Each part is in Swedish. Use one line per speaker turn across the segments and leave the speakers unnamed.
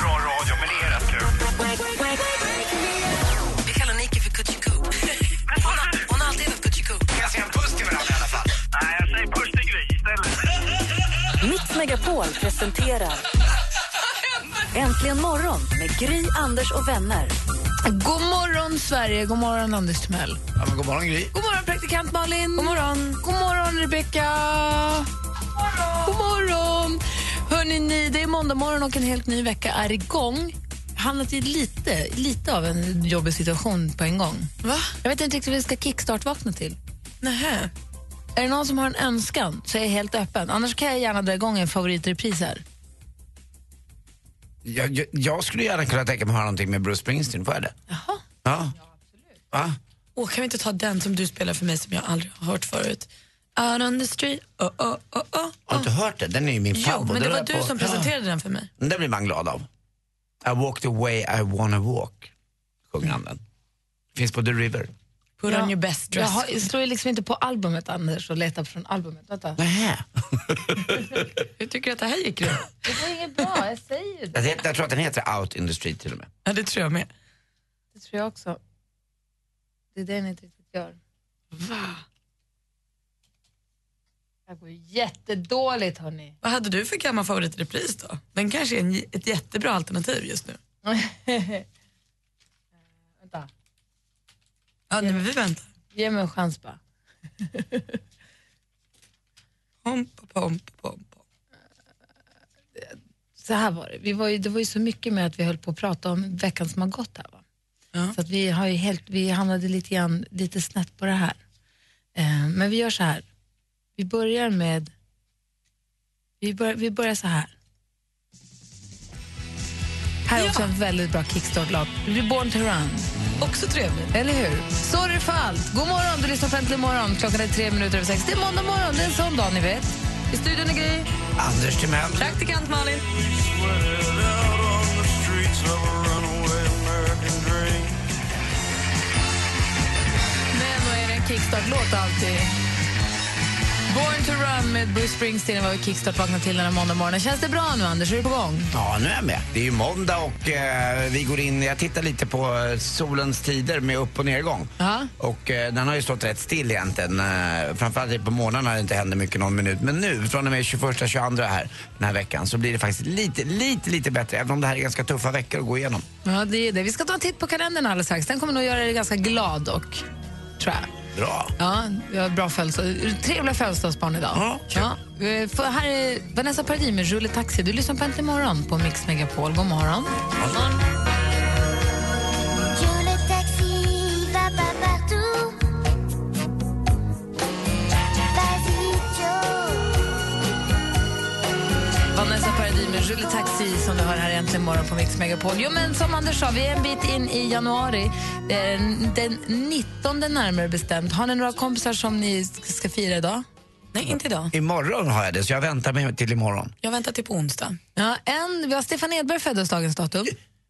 bra radio, men det är rätt kul.
Vi kallar Nicky för Kutjiku. Hon, har- hon har alltid hetat Kutjiku.
Kan jag säga en puss till varandra i alla fall? Nej, jag säger puss till Gry istället.
Mix Megapol presenterar Äntligen morgon med Gry, Anders och vänner.
God morgon, Sverige. God morgon, Anders Timell.
Ja, men god morgon Gry.
God morgon, praktikant Malin. God morgon. God morgon, Rebecka. God morgon. Hörrni, ni, det är måndag morgon och en helt ny vecka är igång. Hamnat i lite, lite av en jobbig situation på en gång. Va? Jag vet inte riktigt vad vi ska kickstart-vakna till. Nähä. Är det någon som har en önskan så är jag helt öppen. Annars kan jag gärna dra igång en favoritrepris här.
Jag, jag, jag skulle gärna kunna tänka mig att höra någonting med Bruce Springsteen, får jag det? Jaha. Ja. Va?
Åh, kan vi inte ta den som du spelar för mig som jag aldrig har hört förut? Out on the street, oh, oh, oh, oh.
Har du inte hört den? Den är ju min
Jo,
favorit.
men det
Den
var
har
du
jag på-
som presenterade den för mig.
Ja. Den där blir man glad av. I walk the way I wanna walk, sjunger han den. Finns på The River.
Put on your best
Jag,
dress.
har, jag slår ju liksom inte på albumet, Anders, och letar från albumet. Vänta.
Nähä.
Hur tycker du att det här gick? Runt?
Det var inget bra, jag säger ju det.
Jag, vet- jag tror att den heter Out in the street till och med.
ja, det tror jag med.
Det tror jag också. Det är det ni inte riktigt gör. Va? Det här går ju jättedåligt, hörni.
Vad hade du för gammal favoritrepris då? Den kanske är en, j- ett jättebra alternativ just nu.
Eh, Vänta,
Ja, nej, men vi väntar.
ge mig en chans bara.
Pom, pom, pom, pom, pom.
Eh, Så här var det. Vi var ju, det var ju så mycket med att vi höll på att prata om veckan som har gått här. Va?
Ja.
Så att vi, har ju helt, vi hamnade lite, grann, lite snett på det här. Eh, men vi gör så här. Vi börjar med... Vi, bör, vi börjar så här. Här är också en väldigt bra kickstart-låt. Reborn to run.
Mm. Också trevligt.
Eller hur? Sorry för allt. God morgon, du lyssnar på Äntligen morgon. Klockan är tre minuter över sex. Det är måndag morgon, det är en sån dag ni vet. I studion är Gry.
Anders Timell.
Praktikant Malin.
Men då är det en kickstart-låt alltid. Born to run med Bruce Springsteen var kickstart vaknade till den här måndag morgonen. Känns det bra nu Anders? Är du på gång?
Ja, nu är jag med. Det är ju måndag och eh, vi går in, jag tittar lite på eh, solens tider med upp och nedgång.
Ja.
Och eh, den har ju stått rätt still egentligen. Eh, framförallt på morgonen när det inte händer mycket någon minut. Men nu, från och med 21-22 här den här veckan, så blir det faktiskt lite, lite, lite bättre. Även om det här är ganska tuffa veckor att gå igenom.
Ja, det är det. Vi ska ta en titt på kalendern alldeles strax. Den kommer nog göra dig ganska glad och, tror jag.
Bra.
Ja, vi har bra födelsedag. Trevliga födelsedagsbarn idag.
Ja, kul.
eh, för här är Vanessa Paradis med Rulle Taxi. Du lyssnar på Äntligen morgon på Mix Megapol. God morgon. Vanessa Paradis med Rulle Taxi som du hör här äntligen morgon på Mix Megapol. Jo, men som Anders sa, vi är en bit in i januari. Det är Den, den 19 närmare bestämt. Har ni några kompisar som ni ska fira idag?
Nej, inte idag.
Imorgon har jag det, så jag väntar mig till imorgon.
Jag väntar till på onsdag.
Ja, en, vi har Stefan Edberg födelsedagens datum.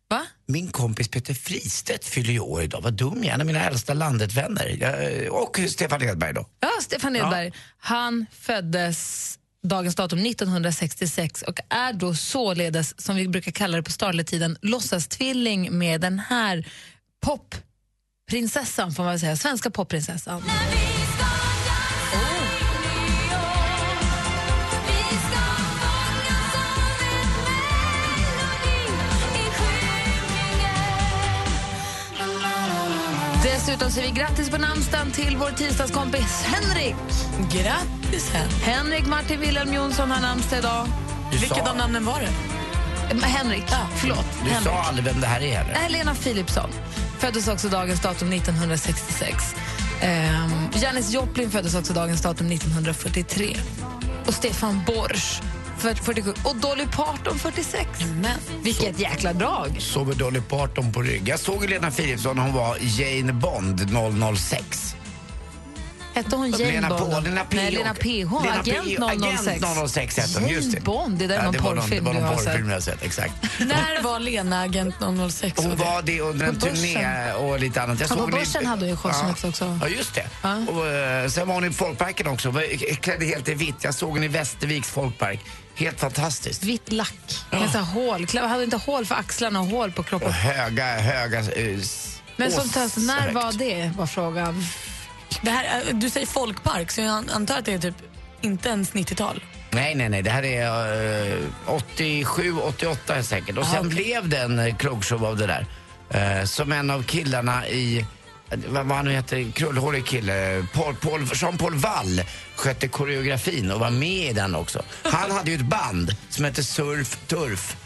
Va?
Min kompis Peter Fristedt fyller ju år idag. Vad dum jag är. En av mina äldsta landetvänner. Jag, eh, och Stefan Edberg då.
Ja, Stefan Edberg. Han föddes dagens datum 1966 och är då således, som vi brukar kalla det på starletiden, låtsastvilling med den här popprinsessan, får man väl säga. Svenska popprinsessan. Dessutom säger vi grattis på namnsdagen till vår tisdagskompis Henrik.
Grattis, hen.
Henrik Martin Wilhelm Jonsson har namnsdag idag.
Du
Vilket
sa,
av namnen var det?
Eh, Henrik, förlåt.
du
Henrik.
sa aldrig vem det här är heller.
Helena Philipsson föddes också dagens datum 1966. Ehm, Janis Joplin föddes också dagens datum 1943. Och Stefan Borsch
för 47 och Dolly Parton 46.
Men.
Vilket jäkla drag.
Sover Dolly Parton på rygg. Jag såg Lena Philipsson, hon var Jane Bond 006.
Hette hon Jane
Lena
Bond?
Paul, Lena P.
Nej, Lena PH.
Lena P-
agent 006.
Agent 006 hette hon,
Jane
just det.
Bond, det där är någon
det var
porrfilm
Det var
du
någon
har sett.
porrfilm jag har sett, exakt.
När var Lena agent 006?
Hon var det under en
På börsen.
turné och lite annat. Jag
Ja, på
hon i-
börsen hade hon ju shortsnacks också.
Ja, just det. Och, eh, sen var hon i folkparken också, var- klädd helt i vitt. Jag såg hon i Västerviks folkpark. Helt fantastiskt.
Vitt lack. Med så här hål. Kla- Hade inte hål för axlarna och hål på
Och
kroppen.
höga, höga... eh, s-
Men som
ås-
tas, när
högt.
var det? Var frågan.
Det här, är- du säger folkpark, så jag antar att det är typ inte ens 90-tal.
Nej, nej, nej. Det här är eh, 87, 88 är säkert. Och sen blev det en eh, krogshow av det där. Eh, som en av killarna i, eh, vad, vad han nu heter, krullhårig kille, Paul, Paul, Jean-Paul Wall skötte koreografin och var med i den också. Han hade ju ett band som hette Surf Turf.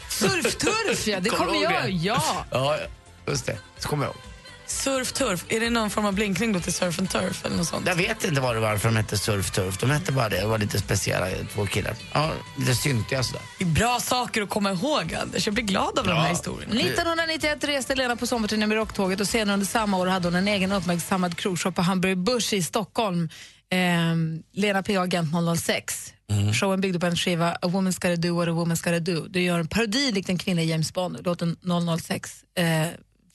Surfturf, ja. Det
Kommer
kommer
du ihåg
jag.
det?
Ja.
Ja, just det. Så kommer jag ihåg.
Surf turf, är det någon form av blinkning då till surf and turf eller något sånt?
Jag vet inte vad det var varför de hette Surf Turf. De hette bara det. Det var lite speciella eh, två killar. Ja, lite syntiga sådär.
Det är bra saker att komma ihåg, Anders. Jag blir glad av de här historierna.
1991 Mm. reste Lena på sommarturné med Rocktåget och senare under samma år hade hon en egen uppmärksammad krogshow på Hamburg Börs i Stockholm. Ehm, Lena P.O. Agent 006.
Mm.
Showen byggde på en skiva A woman's gotta do what a woman's gotta do. Du gör en parodi likt en kvinna i James Bond, låten 006 eh,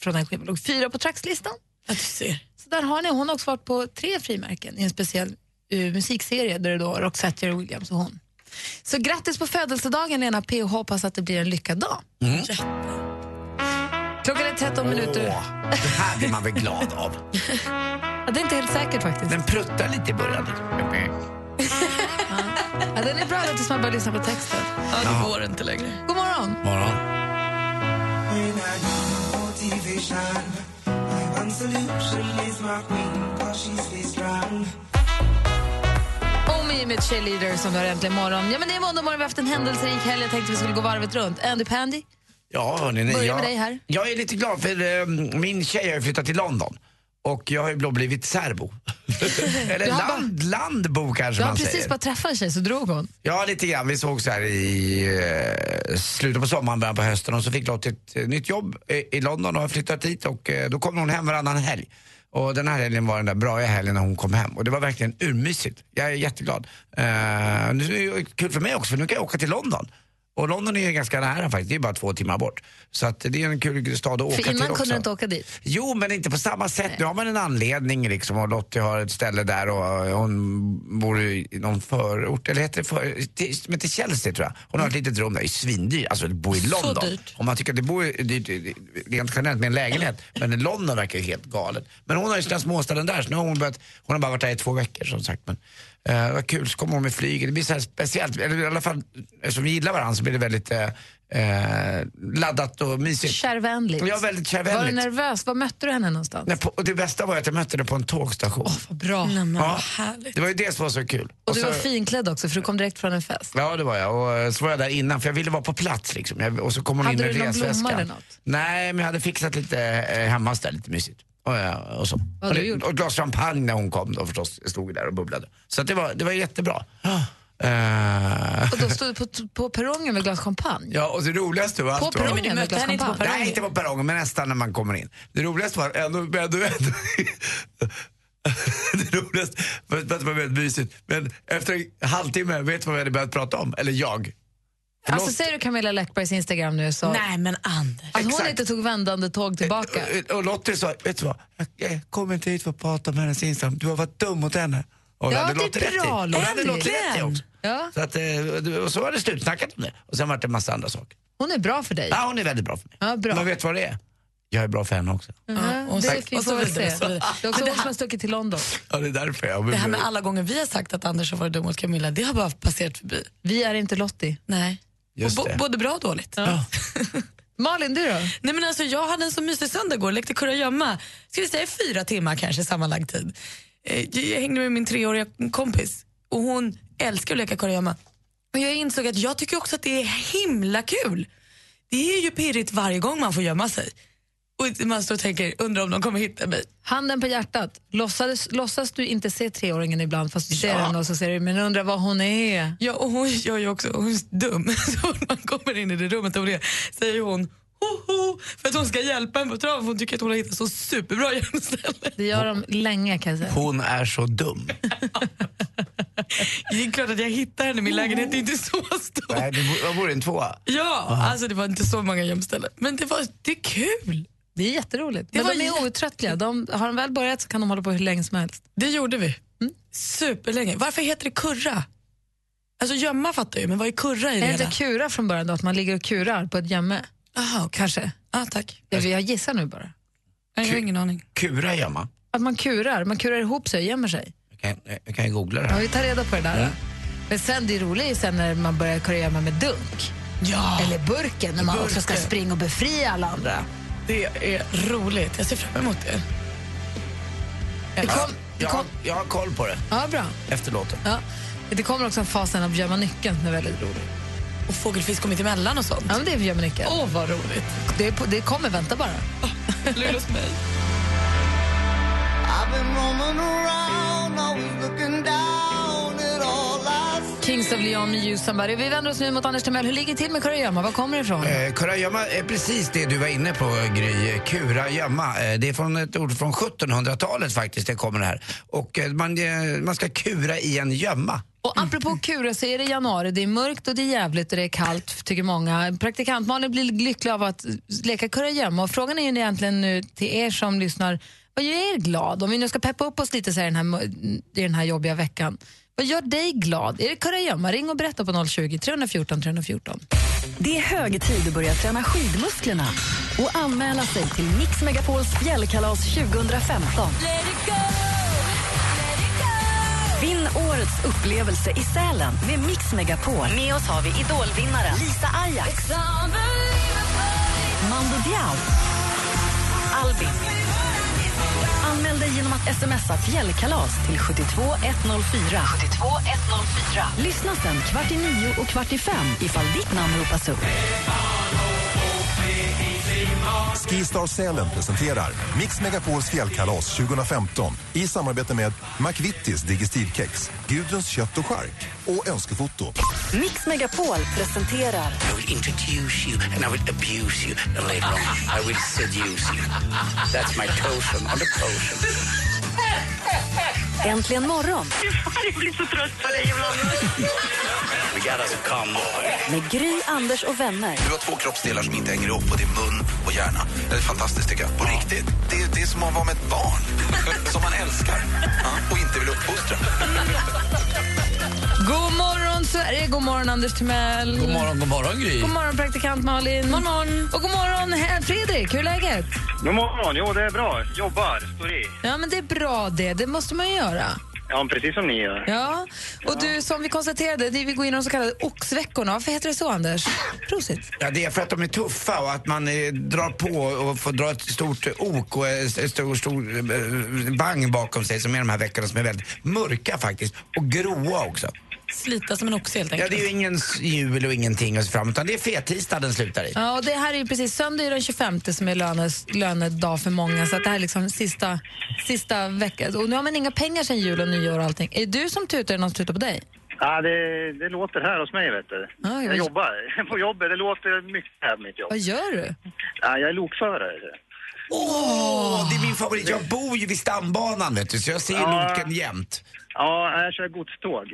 från den skivan. Låg fyra på trackslistan.
Ja, du ser.
Så där har ni. Hon har också varit på tre frimärken i en speciell eh, musikserie där det då är Roxette, Jerry Williams och hon. Så grattis på födelsedagen Lena P och hoppas att det blir en lyckad dag.
Mm.
Klockan är 13 minuter.
Åh, det här blir man väl glad av.
Ja, det är inte helt säkert faktiskt.
Den pruttar lite i början.
Ja, den är bra tills man börjar lyssna på texten.
Ja, det går inte längre.
God morgon!
Morgon.
Omi med Cheerleader som du har äntligen morgon. Ja, men det är måndag morgon, vi har haft en händelserik helg. Jag tänkte vi skulle gå varvet runt. Andy Pandy,
Ja, hörni, ni,
Börja med
jag,
dig här.
jag är lite glad för eh, min tjej har ju flyttat till London. Och jag har ju då blivit serbo. Eller
Du har bara-
land, landbo kanske
du har
man
precis
säger.
bara träffat en tjej så drog hon.
Ja, lite grann. Vi såg så här i eh, slutet på sommaren, början på hösten och så fick Lottie ett eh, nytt jobb i, i London och har flyttat hit och eh, då kom hon hem varannan helg. Och den här helgen var den där bra helgen när hon kom hem och det var verkligen urmysigt. Jag är jätteglad. Eh, nu är det kul för mig också för nu kan jag åka till London. Och London är ju ganska nära faktiskt, det är bara två timmar bort. Så att det är en kul stad att åka
För
till
innan
också.
kunde du inte åka dit.
Jo, men inte på samma sätt. Nu har man en anledning liksom och Lottie har ett ställe där och eh, hon bor i någon förort, eller heter det för, till, som heter Chelsea tror jag. Hon har ett litet rum där, det är svindyrt, alltså att bo i London.
dyrt.
Om man tycker att det bor i- dyrt i- rent generellt med en lägenhet, men London verkar ju helt galet. Men hon har ju sina småställen där, så nu har hon börjat, hon har bara varit där i två veckor som sagt. Men, eh, vad kul, så kommer hon med flyget. Det blir så här speciellt, eller i alla fall eftersom vi gillar varandra så blir det väldigt eh, eh, laddat och mysigt.
Kärvänligt.
Typ. Ja, väldigt
Var du
kärvänligt.
nervös? Var mötte du henne någonstans?
Nej, på, och det bästa var ju att jag mötte henne på en tågstation.
Bra.
Nej, men
Ja.
vad härligt.
det var ju det som var så kul.
Och du
så,
var finklädd också för du kom direkt från en fest.
Ja, det var jag. Och eh, så var jag där innan, för jag ville vara på plats. Liksom. Jag, och så kom hon
Hade
in med
du någon
resväskan.
blomma eller något?
Nej, men jag hade fixat lite eh, hemma där, lite mysigt. Och, eh, och, så.
Vad
och,
hade
det-
du gjort?
och ett glas champagne när hon kom då förstås. Jag stod där och bubblade. Så att det, var, det var jättebra. Eh,
Och då stod du på, på perrongen med glas champagne.
ja, alltså, och det roligaste var...
På
allt var-
perrongen
du
med
mötte
glas
henne inte på
champagne.
perrongen.
Nej, inte på perrongen, men nästan när man kommer in. Det roligaste var ändå... ändå, ändå det roligaste, för det var väldigt mysigt, men efter en halvtimme, vet du vad vi hade börjat prata om? Eller jag.
Alltså
Förlåt.
säger du Camilla Läckbergs Instagram nu så...
Nej, men Anders.
Att hon
Exakt.
inte tog vändande tåg tillbaka.
Eh, Och, och Lottie sa, vet du vad? Jag, jag kommer inte hit för att prata om hennes Instagram, du har varit dum mot henne. Och
Ja,
hade
det är
Lottie rätt i.
bra,
Och det hade
Lottie.
Lottie rätt i också.
Ja.
Så, att, eh, och så var det slutsnackat om det. Och sen var det en massa andra saker.
Hon är bra för dig.
Ja, hon är väldigt bra för mig.
Ja, bra. Mm.
Men vet du vad det är? Jag är bra för henne också.
Ja,
och så-
Mhm. det fick vi
och så
får väl
vidare,
se.
och så
Det
vidare.
är också hon
Men det
som
här-
har stuckit till London.
Ja, det är därför jag...
Det här med alla gånger vi har sagt att Anders har varit dum mot Camilla, det har bara passerat förbi.
Vi är inte Lottie.
Nej.
Just
Och bo-
det.
både bra och dåligt.
Malin, du då?
Nej, men alltså, jag hade en så mysig söndag igår, lekte kurragömma. Ska vi säga fyra timmar kanske sammanlagd tid. Eh, Jag jag hängde med min treåriga kompis och hon älskar att leka kurragömma. Och jag insåg att jag tycker också att det är himla kul. Det är ju pirrigt varje gång man får gömma sig. Och man står och tänker, undrar om de kommer hitta mig.
Handen på hjärtat, låtsas, låtsas du inte se treåringen ibland fast du ser
Ja.
henne och så ser du, men undrar vad hon är.
Ja, och hon gör ju också, hon är så dum. Så fort man kommer in i det rummet och det säger hon ho, ho, för att hon ska hjälpa en på traven för hon tycker att hon har hittat så superbra gömställe.
Det gör de länge kan jag säga.
Hon är så dum.
Det är klart att jag hittar henne, min lägenhet är inte så stor.
Nej, det vore- vad vore en tvåa?
Ja, alltså det var inte så många gömställen. Men det var, det är kul.
Det är jätteroligt.
Det
Men
var
de är
jätte-
outtröttliga. De, har de väl börjat så kan de hålla på hur länge som helst.
Det gjorde vi.
Mm.
Superlänge. Varför heter det kurra? Alltså gömma fattar jag ju, men vad är kurra i det
Är det
hela?
inte kura från början då, att man ligger och kurar på ett gömme?
Aha, okej.
Kanske.
Ah, tack.
Jag, jag gissar nu bara.
Jag har
Kul.
ingen aning.
Kura gömma.
Att man kurar, man kurar ihop sig och gömmer sig.
Jag kan, jag kan ju googla det
Ja,
här.
vi tar reda på det där.
Mm.
Men sen det roliga är ju sen när man börjar kurra gömma med dunk.
Ja,
Eller burken, när man också ska
Burken.
springa och befria alla andra.
det är roligt. Jag ser fram emot det.
Det kom, det
Jag,
kom,
har- jag har koll på det
ja, bra.
efter låten.
Ja. Det kommer också en fas sen av gömma nyckeln som är väldigt rolig.
Och fågelfisk kommit emellan och sånt.
Ja, men det är gömma nyckeln.
Åh, vad roligt. Ah.
Det, är på, det kommer, vänta bara.
Lul hos mig.
Kings of Leon med You Somebody. Vi vänder oss nu mot Anders Timell. Hur ligger det till med kurragömma? Var kommer det ifrån?
Eh, Kurragömma är precis det du var inne på, Gry. Eh, Kurragömma. Eh, det är från ett ord från 1700-talet faktiskt, det kommer det här. Och eh, man, eh, man ska kura i en gömma.
Och apropå kura så är det januari, det är mörkt och det är jävligt och det är kallt tycker många. Praktikant Malin blir lycklig av att leka kurragömma och frågan är ju egentligen nu till er som lyssnar, vad gör er glad? Om vi nu ska peppa upp oss lite så här i den här, mö- i den här jobbiga veckan. Vad gör dig glad? Är det kurragömma? Ring och berätta på 020 314 314.
Det är hög tid att börja träna skidmusklerna och anmäla sig till Mix Megapols fjällkalas 2015. Vinn årets upplevelse i Sälen med Mix Megapol. Med oss har vi idolvinnaren Lisa Ajax. Mando Diao. Albin. Anmäl dig genom att smsa fjällkalas till 72104. 72104. Lyssna sen kvart i nio och kvart i fem ifall ditt namn ropas upp.
Skistar Sälen presenterar Mix Megapols fjällkalas 2015 i samarbete med McVittys Digestivkex, Gudruns kött och chark och Önskefoto.
Mix Megapol presenterar
I will introduce you and I will abuse you and later on I will seduce you. That's my potion on the potion.
Äntligen morgon
Jag blir så trött på dig ibland.
We got us come on.
med Gry, Anders och vänner.
Du har två kroppsdelar som inte hänger ihop och det är mun och hjärna. Det är fantastiskt tycker jag. På riktigt. Det är, det är som att vara med ett barn som man älskar ja, och inte vill uppfostra.
God morgon Sverige, god morgon Anders Timell.
God morgon, god morgon Gry.
God morgon praktikant Malin. God morgon. Och god morgon här, Fredrik, hur är läget?
God morgon, jo det är bra. Jobbar, står i.
Ja men det är bra det, det måste man ju göra.
Ja, precis som ni gör.
Ja, och du som vi konstaterade, det vi går in i de så kallade oxveckorna. Varför heter det så, Anders? Prosit.
Ja, det är för att de är tuffa och att man eh, drar på och får dra ett stort eh, ok och eh, ett stor, stor eh, bang bakom sig som är de här veckorna som är väldigt mörka faktiskt och gråa också.
Slita som en oxe helt
Ja,
enkelt.
det är ju ingen s- jul och ingenting att se fram utan det är fettisdag den slutar i.
Ja, och det här är ju precis söndag är den 25 som är lönes, lönedag för många, så att det här är liksom sista, sista veckan. Och nu har man inga pengar sen jul och nyår och allting. Är det du som tutar eller någon som tutar på dig?
Ja, det, det låter här hos mig, vet du.
Oj,
jag
oj.
jobbar på jobbet. Det låter mycket här på mitt jobb.
Vad gör du?
Ja, jag är lokförare.
Åh, det är min favorit. Jag bor ju vid stambanan vet du, så jag ser ju
Ja.
loken jämt.
Ja, jag kör godståg.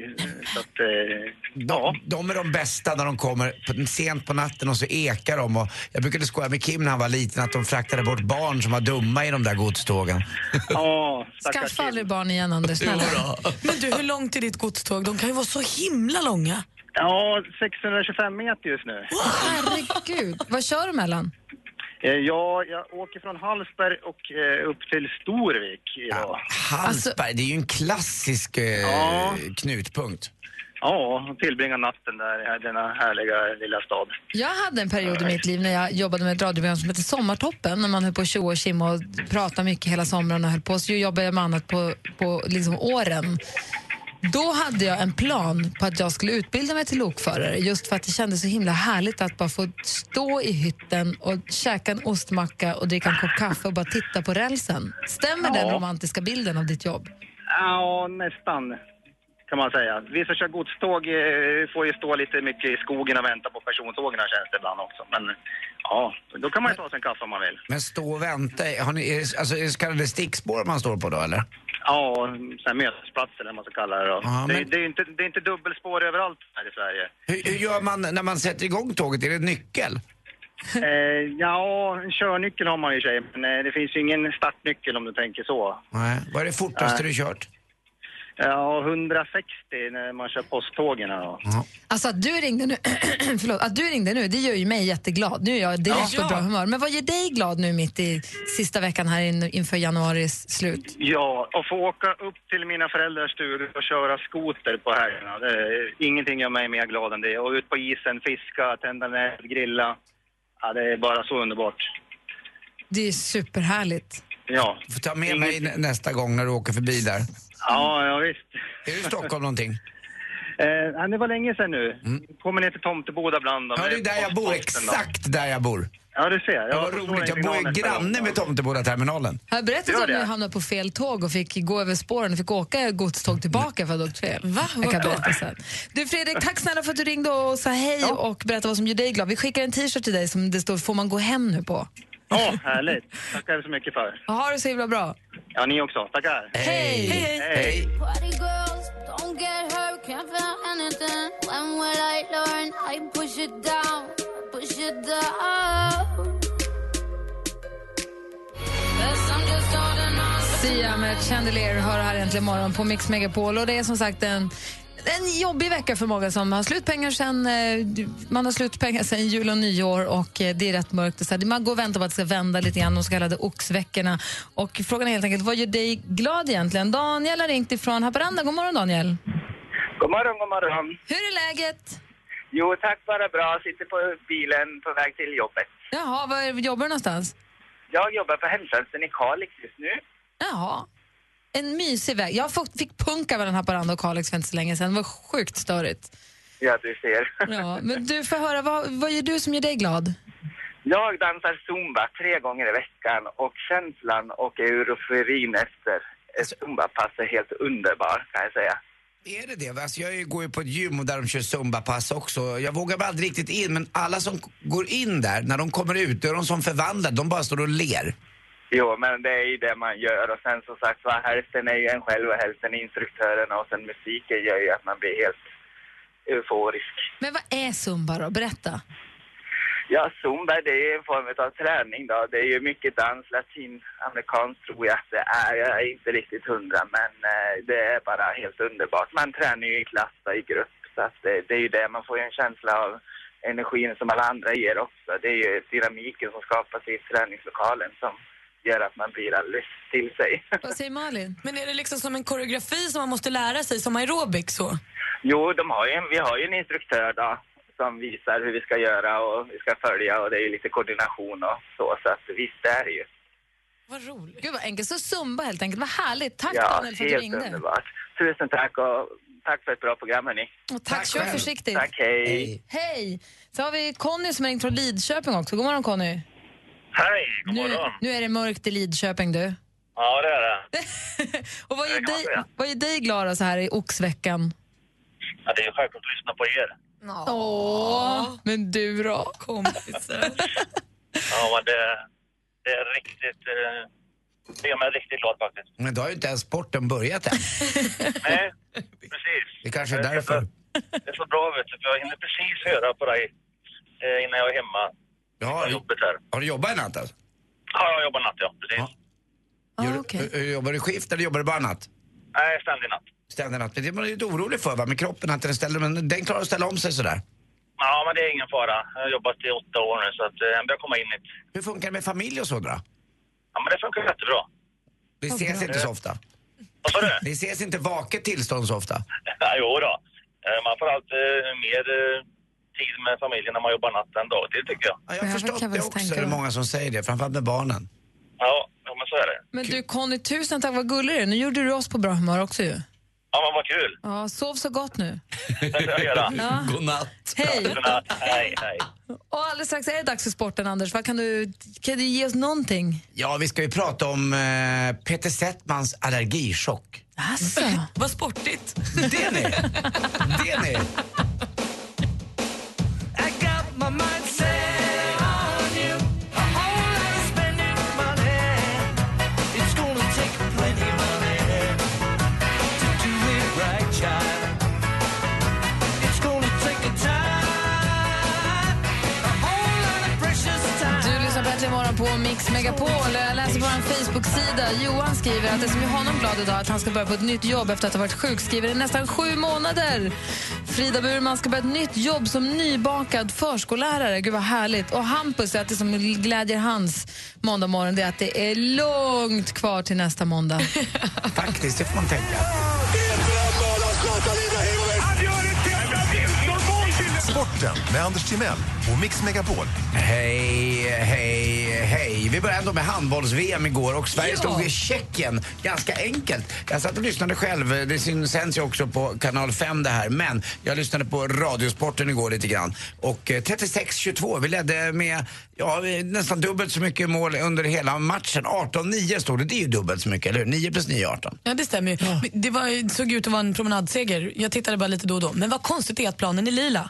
Så att, eh, ja.
De, de är de bästa när de kommer på, sent på natten och så ekar de. Och jag brukade skoja med Kim när han var liten att de fraktade bort barn som var dumma i de där godstågen.
ja stackars
Skaffa
kid.
aldrig barn igen, Anders. Snälla.
Men du, hur långt är ditt godståg? De kan ju vara så himla långa.
Ja, 625 meter just nu.
Herregud. Vad kör du mellan?
Eh, Ja, jag åker från Hallsberg och eh, upp till Storvik idag.
Hallsberg, det är ju en klassisk eh,
Ja.
knutpunkt.
Ja, och tillbringar natten där i denna härliga lilla stad.
Jag hade en period i mitt liv när jag jobbade med ett radioprogram som hette Sommartoppen, när man höll på och tjoa och tjimma och pratade mycket hela sommaren och höll på. Så jobbade jag med annat på, på liksom åren. Då hade jag en plan på att jag skulle utbilda mig till lokförare just för att det kändes så himla härligt att bara få stå i hytten och käka en ostmacka och dricka en kopp kaffe och bara titta på rälsen. Stämmer den
Ja.
romantiska bilden av ditt jobb?
Ja, nästan kan man säga. Vi som kör godståg eh, får ju stå lite mycket i skogen och vänta på persontågen känns det ibland också. Men ja, då kan man ju ta sig en kaffe om man vill.
Men stå och vänta, har ni, är det, alltså, är det så kallade stickspår man står på då eller?
Ja, så här mötesplatser eller vad man ska kalla det då.
Ja,
det,
men-
det, är inte, det är inte dubbelspår överallt här i Sverige.
Hur, hur gör man när man sätter igång tåget? Är det en nyckel?
Eh, ja, en környckel har man ju i och för sig, men eh, det finns ju ingen startnyckel om du tänker så. Eh,
Nej. Vad är det fortaste
Nej.
du kört?
Ja, 160 när man kör posttågen här då.
Alltså att du ringde nu, förlåt, att du ringde nu, det gör ju mig jätteglad. Nu är jag direkt
Ja.
på bra humör. Men vad gör dig glad nu mitt i sista veckan här in, inför januaris slut?
Ja, att få åka upp till mina föräldrars stuga och köra skoter på helgerna. Det är- Ingenting gör mig mer glad än det. Och ut på isen, fiska, tända en eld, grilla. Ja, det är bara så underbart.
Det är superhärligt.
Ja.
Får ta med mig nä- nästa gång när du åker förbi där.
Ja, ja visst.
Är du i Stockholm någonting?
Eh, nej, det var länge sedan nu. Kommer ner till Tomteboda bland dem.
Ja, det är Mm. där jag bor.
Posten då.
Exakt där jag bor.
Ja, du ser. Jag
Ja, vad roligt. Jag bor ju granne med Tomteboda-terminalen.
Har jag berättat
Gör
om när
det.
jag hamnade på fel tåg och fick gå över spåren och fick åka godståg tillbaka för att jag åkt fel? Va? Jag kan
Vart då?
berätta sen. Du Fredrik, tack snälla för att du ringde och sa hej och berättade vad som gör dig glad. Vi skickar en t-shirt till dig som det står Får man gå hem nu på?
Ja, härligt. Tackar så mycket för.
Ha det så himla bra.
Ja, ni också. Tackar.
Hej. Hej, hej.
Party girls, don't get hurt, can't feel anything. When will I learn? I push it down, push it down. Guess I'm just holding on.
Sia med Chandelier hör här äntligen morgon på Mix Megapol och det är som sagt en en jobbig vecka för många som har slut pengar sen, eh, du- man har slut pengar sen jul och nyår och eh, det är rätt mörkt. Och så här, man går och väntar på att det ska vända lite grann, de så kallade oxveckorna. Och frågan är helt enkelt, vad gör dig glad egentligen? Daniel har ringt ifrån Haparanda. God morgon Daniel.
God morgon, god morgon.
Hur är läget?
Jo, tack bara bra. Sitter på bilen på väg till jobbet.
Jaha, var jobbar du någonstans?
Jag jobbar på hemtjänsten i Kalix just nu.
Jaha. En mysig väg. Jag fick- fick punka mellan Haparanda och Kalix för inte så länge sedan. Det var sjukt störigt.
Ja, du ser.
Ja, men du får höra, vad, vad gör du som gör dig glad?
Jag dansar zumba tre gånger i veckan och känslan och euforin efter
Alltså-
ett zumbapass är helt underbar, kan jag säga.
Är det det? Alltså jag går ju på ett gym och där de kör zumbapass också. Jag vågar bara aldrig riktigt in, men alla som k- går in där, när de kommer ut, då är de som förvandlade. De bara står och ler.
Jo, men det är ju det man gör och sen som sagt var, hälften är ju en själv och hälften är instruktörerna och sen musiken gör ju att man blir helt euforisk.
Men vad är zumba då? Berätta.
Ja, zumba det är en form av träning då. Det är ju mycket dans, latinamerikanskt tror jag att det är. Jag är inte riktigt hundra, men eh, det är bara helt underbart. Man tränar ju i klass och i grupp, så att det, det är ju det. Man får ju en känsla av energin som alla andra ger också. Det är ju dynamiken som skapas i träningslokalen som gör att man blir alldeles till sig.
Vad säger Malin?
Men är det liksom som en koreografi som man måste lära sig, som aerobik så?
Jo, de har ju en, vi har ju en instruktör då, som visar hur vi ska göra och vi ska följa och det är ju lite koordination och så, så att visst det är det ju.
Vad roligt. Gud vad enkelt. Så zumba helt enkelt. Vad härligt. Tack
ja,
Daniel för att du
helt
ringde.
underbart. Tusen tack och tack för ett bra program hörni.
Och tack, kör
själv.
försiktigt.
Tack, hej.
Hej! Så har vi Conny som har ringt från Lidköping också. God morgon Conny.
Hej, god
Nu,
morgon.
nu är det mörkt i Lidköping du.
Ja, det är det.
Och vad
Det
gör
kan man
dig,
säga.
vad gör dig glad då så här i oxveckan?
Ja, det är självklart att lyssna på er.
Åh, men du då? Kompisar.
Ja, men det, det är riktigt... Eh, det gör mig riktigt glad faktiskt.
Men då har ju inte ens sporten börjat än.
Nej, precis.
Det kanske är därför.
Det är så bra, vet du, för jag hinner precis höra på dig eh, innan jag är hemma.
Ja,
jobbet här.
Har du jobbat i natt alltså?
Ja, jag jobbar natt, ja. Precis.
Gör,
eh,
ö- ö- Jobbar du skift eller jobbar du bara natt?
Nej, ständig natt.
Ständig natt. Men det är man ju lite orolig för va, med kroppen att den ställer, men den klarar att ställa om sig sådär.
Ja, men det är ingen fara. Jag har jobbat i åtta år nu, så att eh, jag börjar komma in i...
Hur funkar det med familj och så då?
Ja, men det funkar jättebra.
Det ses inte så ofta.
Vad sa du?
Det ses inte vaket tillstånd så ofta.
Ja, jo då. Eh, Man får allt eh, mer eh, tid med familjen när man jobbar natt än dagtid, tycker jag.
Jag har förstått det också, är det många som säger det. Framförallt med barnen.
Ja, ja, men så är det.
Men du Conny, tusen tack. Vad gullig du är. Nu gjorde du oss på bra humör också ju.
Ja, men vad kul.
Ja, sov så gott nu.
Det ska jag göra.
Ja.
Godnatt.
Hej.
Godnatt. Hej, hej.
Och alldeles strax är det dags för sporten, Anders. Vad kan, du, kan du ge oss någonting?
Ja, vi ska ju prata om eh, Peter Settmans allergichock.
Alltså.
Vad sportigt.
Det ni! Det ni!
I got my mind set on you. A whole lot of spending money. It's gonna take plenty money to do it right, child. It's gonna take a time, a whole lot of precious time.
Du lyssnar på Äntligen morgon på Mix Megapol. Jag läser på vår Facebook-sida. Johan skriver att det som gör honom glad idag är att han ska börja på ett nytt jobb efter att ha varit sjukskriven i nästan sju månader. Frida Burman ska börja ett nytt jobb som nybakad förskollärare. Gud vad härligt. Och Hampus säger att det som glädjer hans måndag morgon det är att det är långt kvar till nästa måndag.
Faktiskt, det får man tänka.
Sporten med Anders Timell och Mix Megapol.
Hej, hej, hej. Vi började ändå med handbolls-VM igår och Sverige
Ja.
stod i Tjeckien ganska enkelt. Jag satt och lyssnade själv. Det syns- sänds ju också på kanal 5 det här. Men jag lyssnade på Radiosporten igår lite grann. Och eh, 36-22. Vi ledde med ja, vi- nästan dubbelt så mycket mål under hela matchen. 18-9 stod det. Det är ju dubbelt så mycket, eller hur? 9 plus 9 är 18.
Ja, det stämmer ju. Men Det var, ju- såg ut att vara en promenadseger. Jag tittade bara lite då och då. Men vad konstigt det är att planen är lila.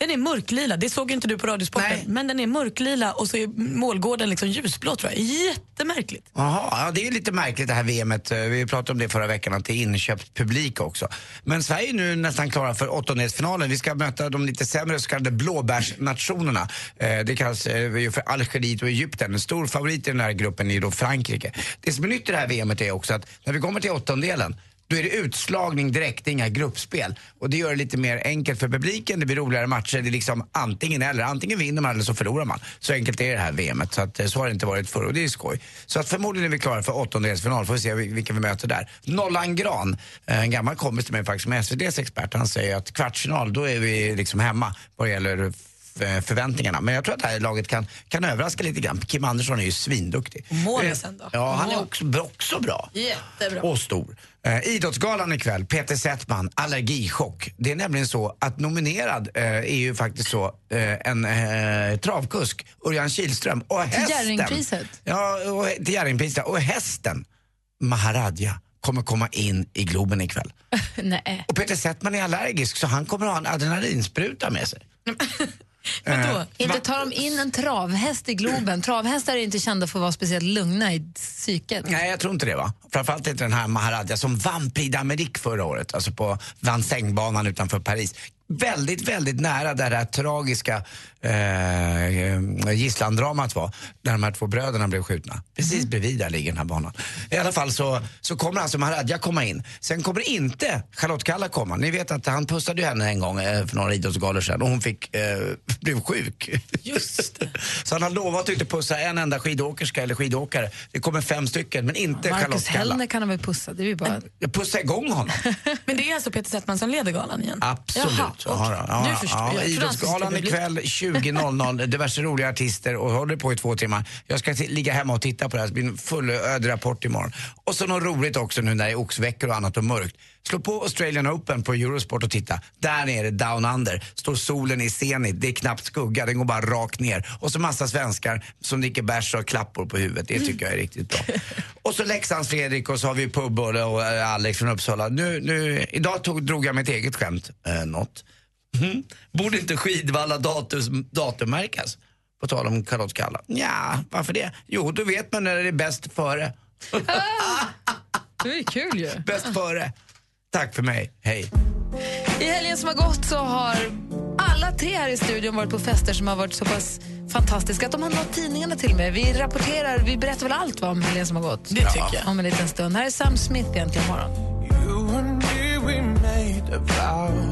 Den är mörklila. Det såg ju inte du på Radiosporten. Men den är mörklila och så är målgården liksom ljusblå tror jag. Jättemärkligt.
Jaha, ja, det är ju lite märkligt det här VMet. Eh, Vi pratade om det förra veckan, att det är inköpt publik också. Men Sverige är nu nästan klara för åttondelsfinalen. Vi ska möta de lite sämre så kallade blåbärsnationerna. Eh, Det kallas eh, ju för Algeriet och Egypten. En stor favorit i den här gruppen är då Frankrike. Det som är nytt i det här VMet är också att när vi kommer till åttondelen då är det utslagning direkt, det är inga gruppspel. Och det gör det lite mer enkelt för publiken, det blir roligare matcher. Det är liksom antingen eller. Antingen vinner man eller så förlorar man. Så enkelt är det här VMet. Så, att, eh, så har det inte varit förr och det är skoj. Så att förmodligen är vi klara för åttondelsfinal. Får vi se vil- vilka vi möter där. Nollan Gran, eh, en gammal kompis till mig faktiskt som är SVDs expert. Han säger att kvartsfinal, då är vi liksom hemma vad det gäller f- förväntningarna. Men jag tror att det här laget kan, kan överraska lite grann. Kim Andersson är ju svinduktig. Eh,
Målisen då?
Ja, han är
Mål.
också, också bra.
Jättebra.
Och stor. Eh, idrottsgalan ikväll, Peter Settman, allergichock. Det är nämligen så att nominerad eh, är ju faktiskt så eh, en eh, travkusk, Örjan Kihlström, och
Till
hästen.
Jerringpriset.
Ja, och, till Jerringpriset. Och hästen, Maharadja, kommer komma in i Globen ikväll.
Nej.
Och Peter Settman är allergisk så han kommer ha en adrenalinspruta med sig. Eh,
Inte tar de in en travhäst i Globen. Travhästar är ju inte kända för att vara speciellt lugna i psyket.
Nej, jag tror inte det. va? Framförallt inte den här Maharadja som vann Prix d'Amérique förra året, alltså på Vincennes-banan utanför Paris. Väldigt, väldigt nära där det här tragiska eh, gisslandramat var, där de här två bröderna blev skjutna. Precis bredvid där ligger den här banan. I alla fall så, så kommer alltså Maharadja komma in. Sen kommer inte Charlotte Kalla komma. Ni vet att han pussade ju henne en gång eh, för några idrottsgalor sedan och hon fick, eh, blev sjuk. Så han har lovat att inte pussa en enda skidåkerska eller skidåkare. Det kommer fem stycken, men inte Charlotte
Marcus
Kalla.
Hellner kan de väl pussa? Det är ju bara...
Jag pussar igång honom.
Men det är alltså Peter Settman som leder galan igen?
Absolut.
Jaha,
Ja,
okej.
då. ja,
nu förstår
ja,
jag. Jag trodde han skulle
Idrottsgalan
bli-
ikväll 20.00. Diverse roliga artister och håller på i två timmar. Jag ska t- ligga hemma och titta på det här. Det blir en fullödig rapport imorgon. Och så något roligt också nu när det är oxveckor och annat och mörkt. Slå på Australian Open på Eurosport och titta. Där nere, down under, står solen i zenit. Det är knappt skugga, den går bara rakt ner. Och så massa svenskar som dricker bärs och har klappor på huvudet. Det tycker jag är riktigt bra. Och så Leksands Fredrik och så har vi Pubbulle och eh, Alex från Uppsala. Nu, nu, idag tog, drog jag mitt eget skämt, eh, något. Mhm. Borde inte Skidvalla datus, datummärkas? På tal om Charlotte Kalla. Ja, varför det? Jo, då vet man när det är bäst före.
Det är kul ju.
Bäst före. Tack för mig. Hej.
I helgen som har gått så har alla tre här i studion varit på fester som har varit så pass fantastiska att de har nått tidningarna till och med. Vi rapporterar, vi berättar väl allt vad om helgen som har gått. Det
tycker jag.
Om en liten stund. Här är Sam Smith egentligen imorgon.
You and me, we made a vow.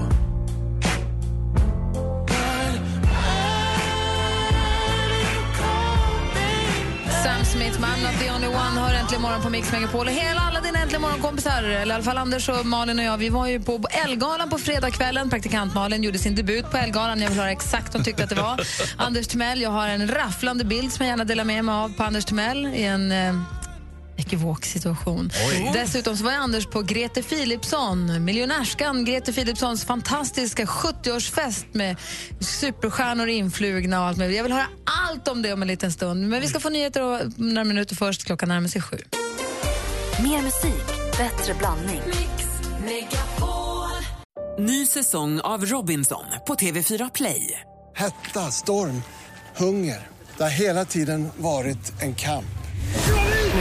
Sam Smith med I'm not the only one hör Äntligen morgon på Mix Megapol. Och hela alla dina Äntligen morgonkompisar, eller i alla fall Anders och Malin och jag, vi var ju på Elgalan på fredagskvällen. Praktikant Malin gjorde sin debut på Elgalan. Jag vill höra exakt vad hon tyckte att det var. Anders Timell, jag har en rafflande bild som jag gärna delar med mig av på Anders Timell i en eh, ekivok situation. Mm.
Oj.
Dessutom så var jag Anders på Grete Philipsson, miljonärskan Grete Philipssons fantastiska 70-årsfest med superstjärnor influgna och allt möjligt. Jag vill höra allt om det om en liten stund. Men vi ska få nyheter och några minuter först. Klockan närmar sig sju.
Mer musik, bättre blandning.
Ny säsong av Robinson på TV4 Play.
Hetta, storm, hunger. Det har hela tiden varit en kamp.
Nu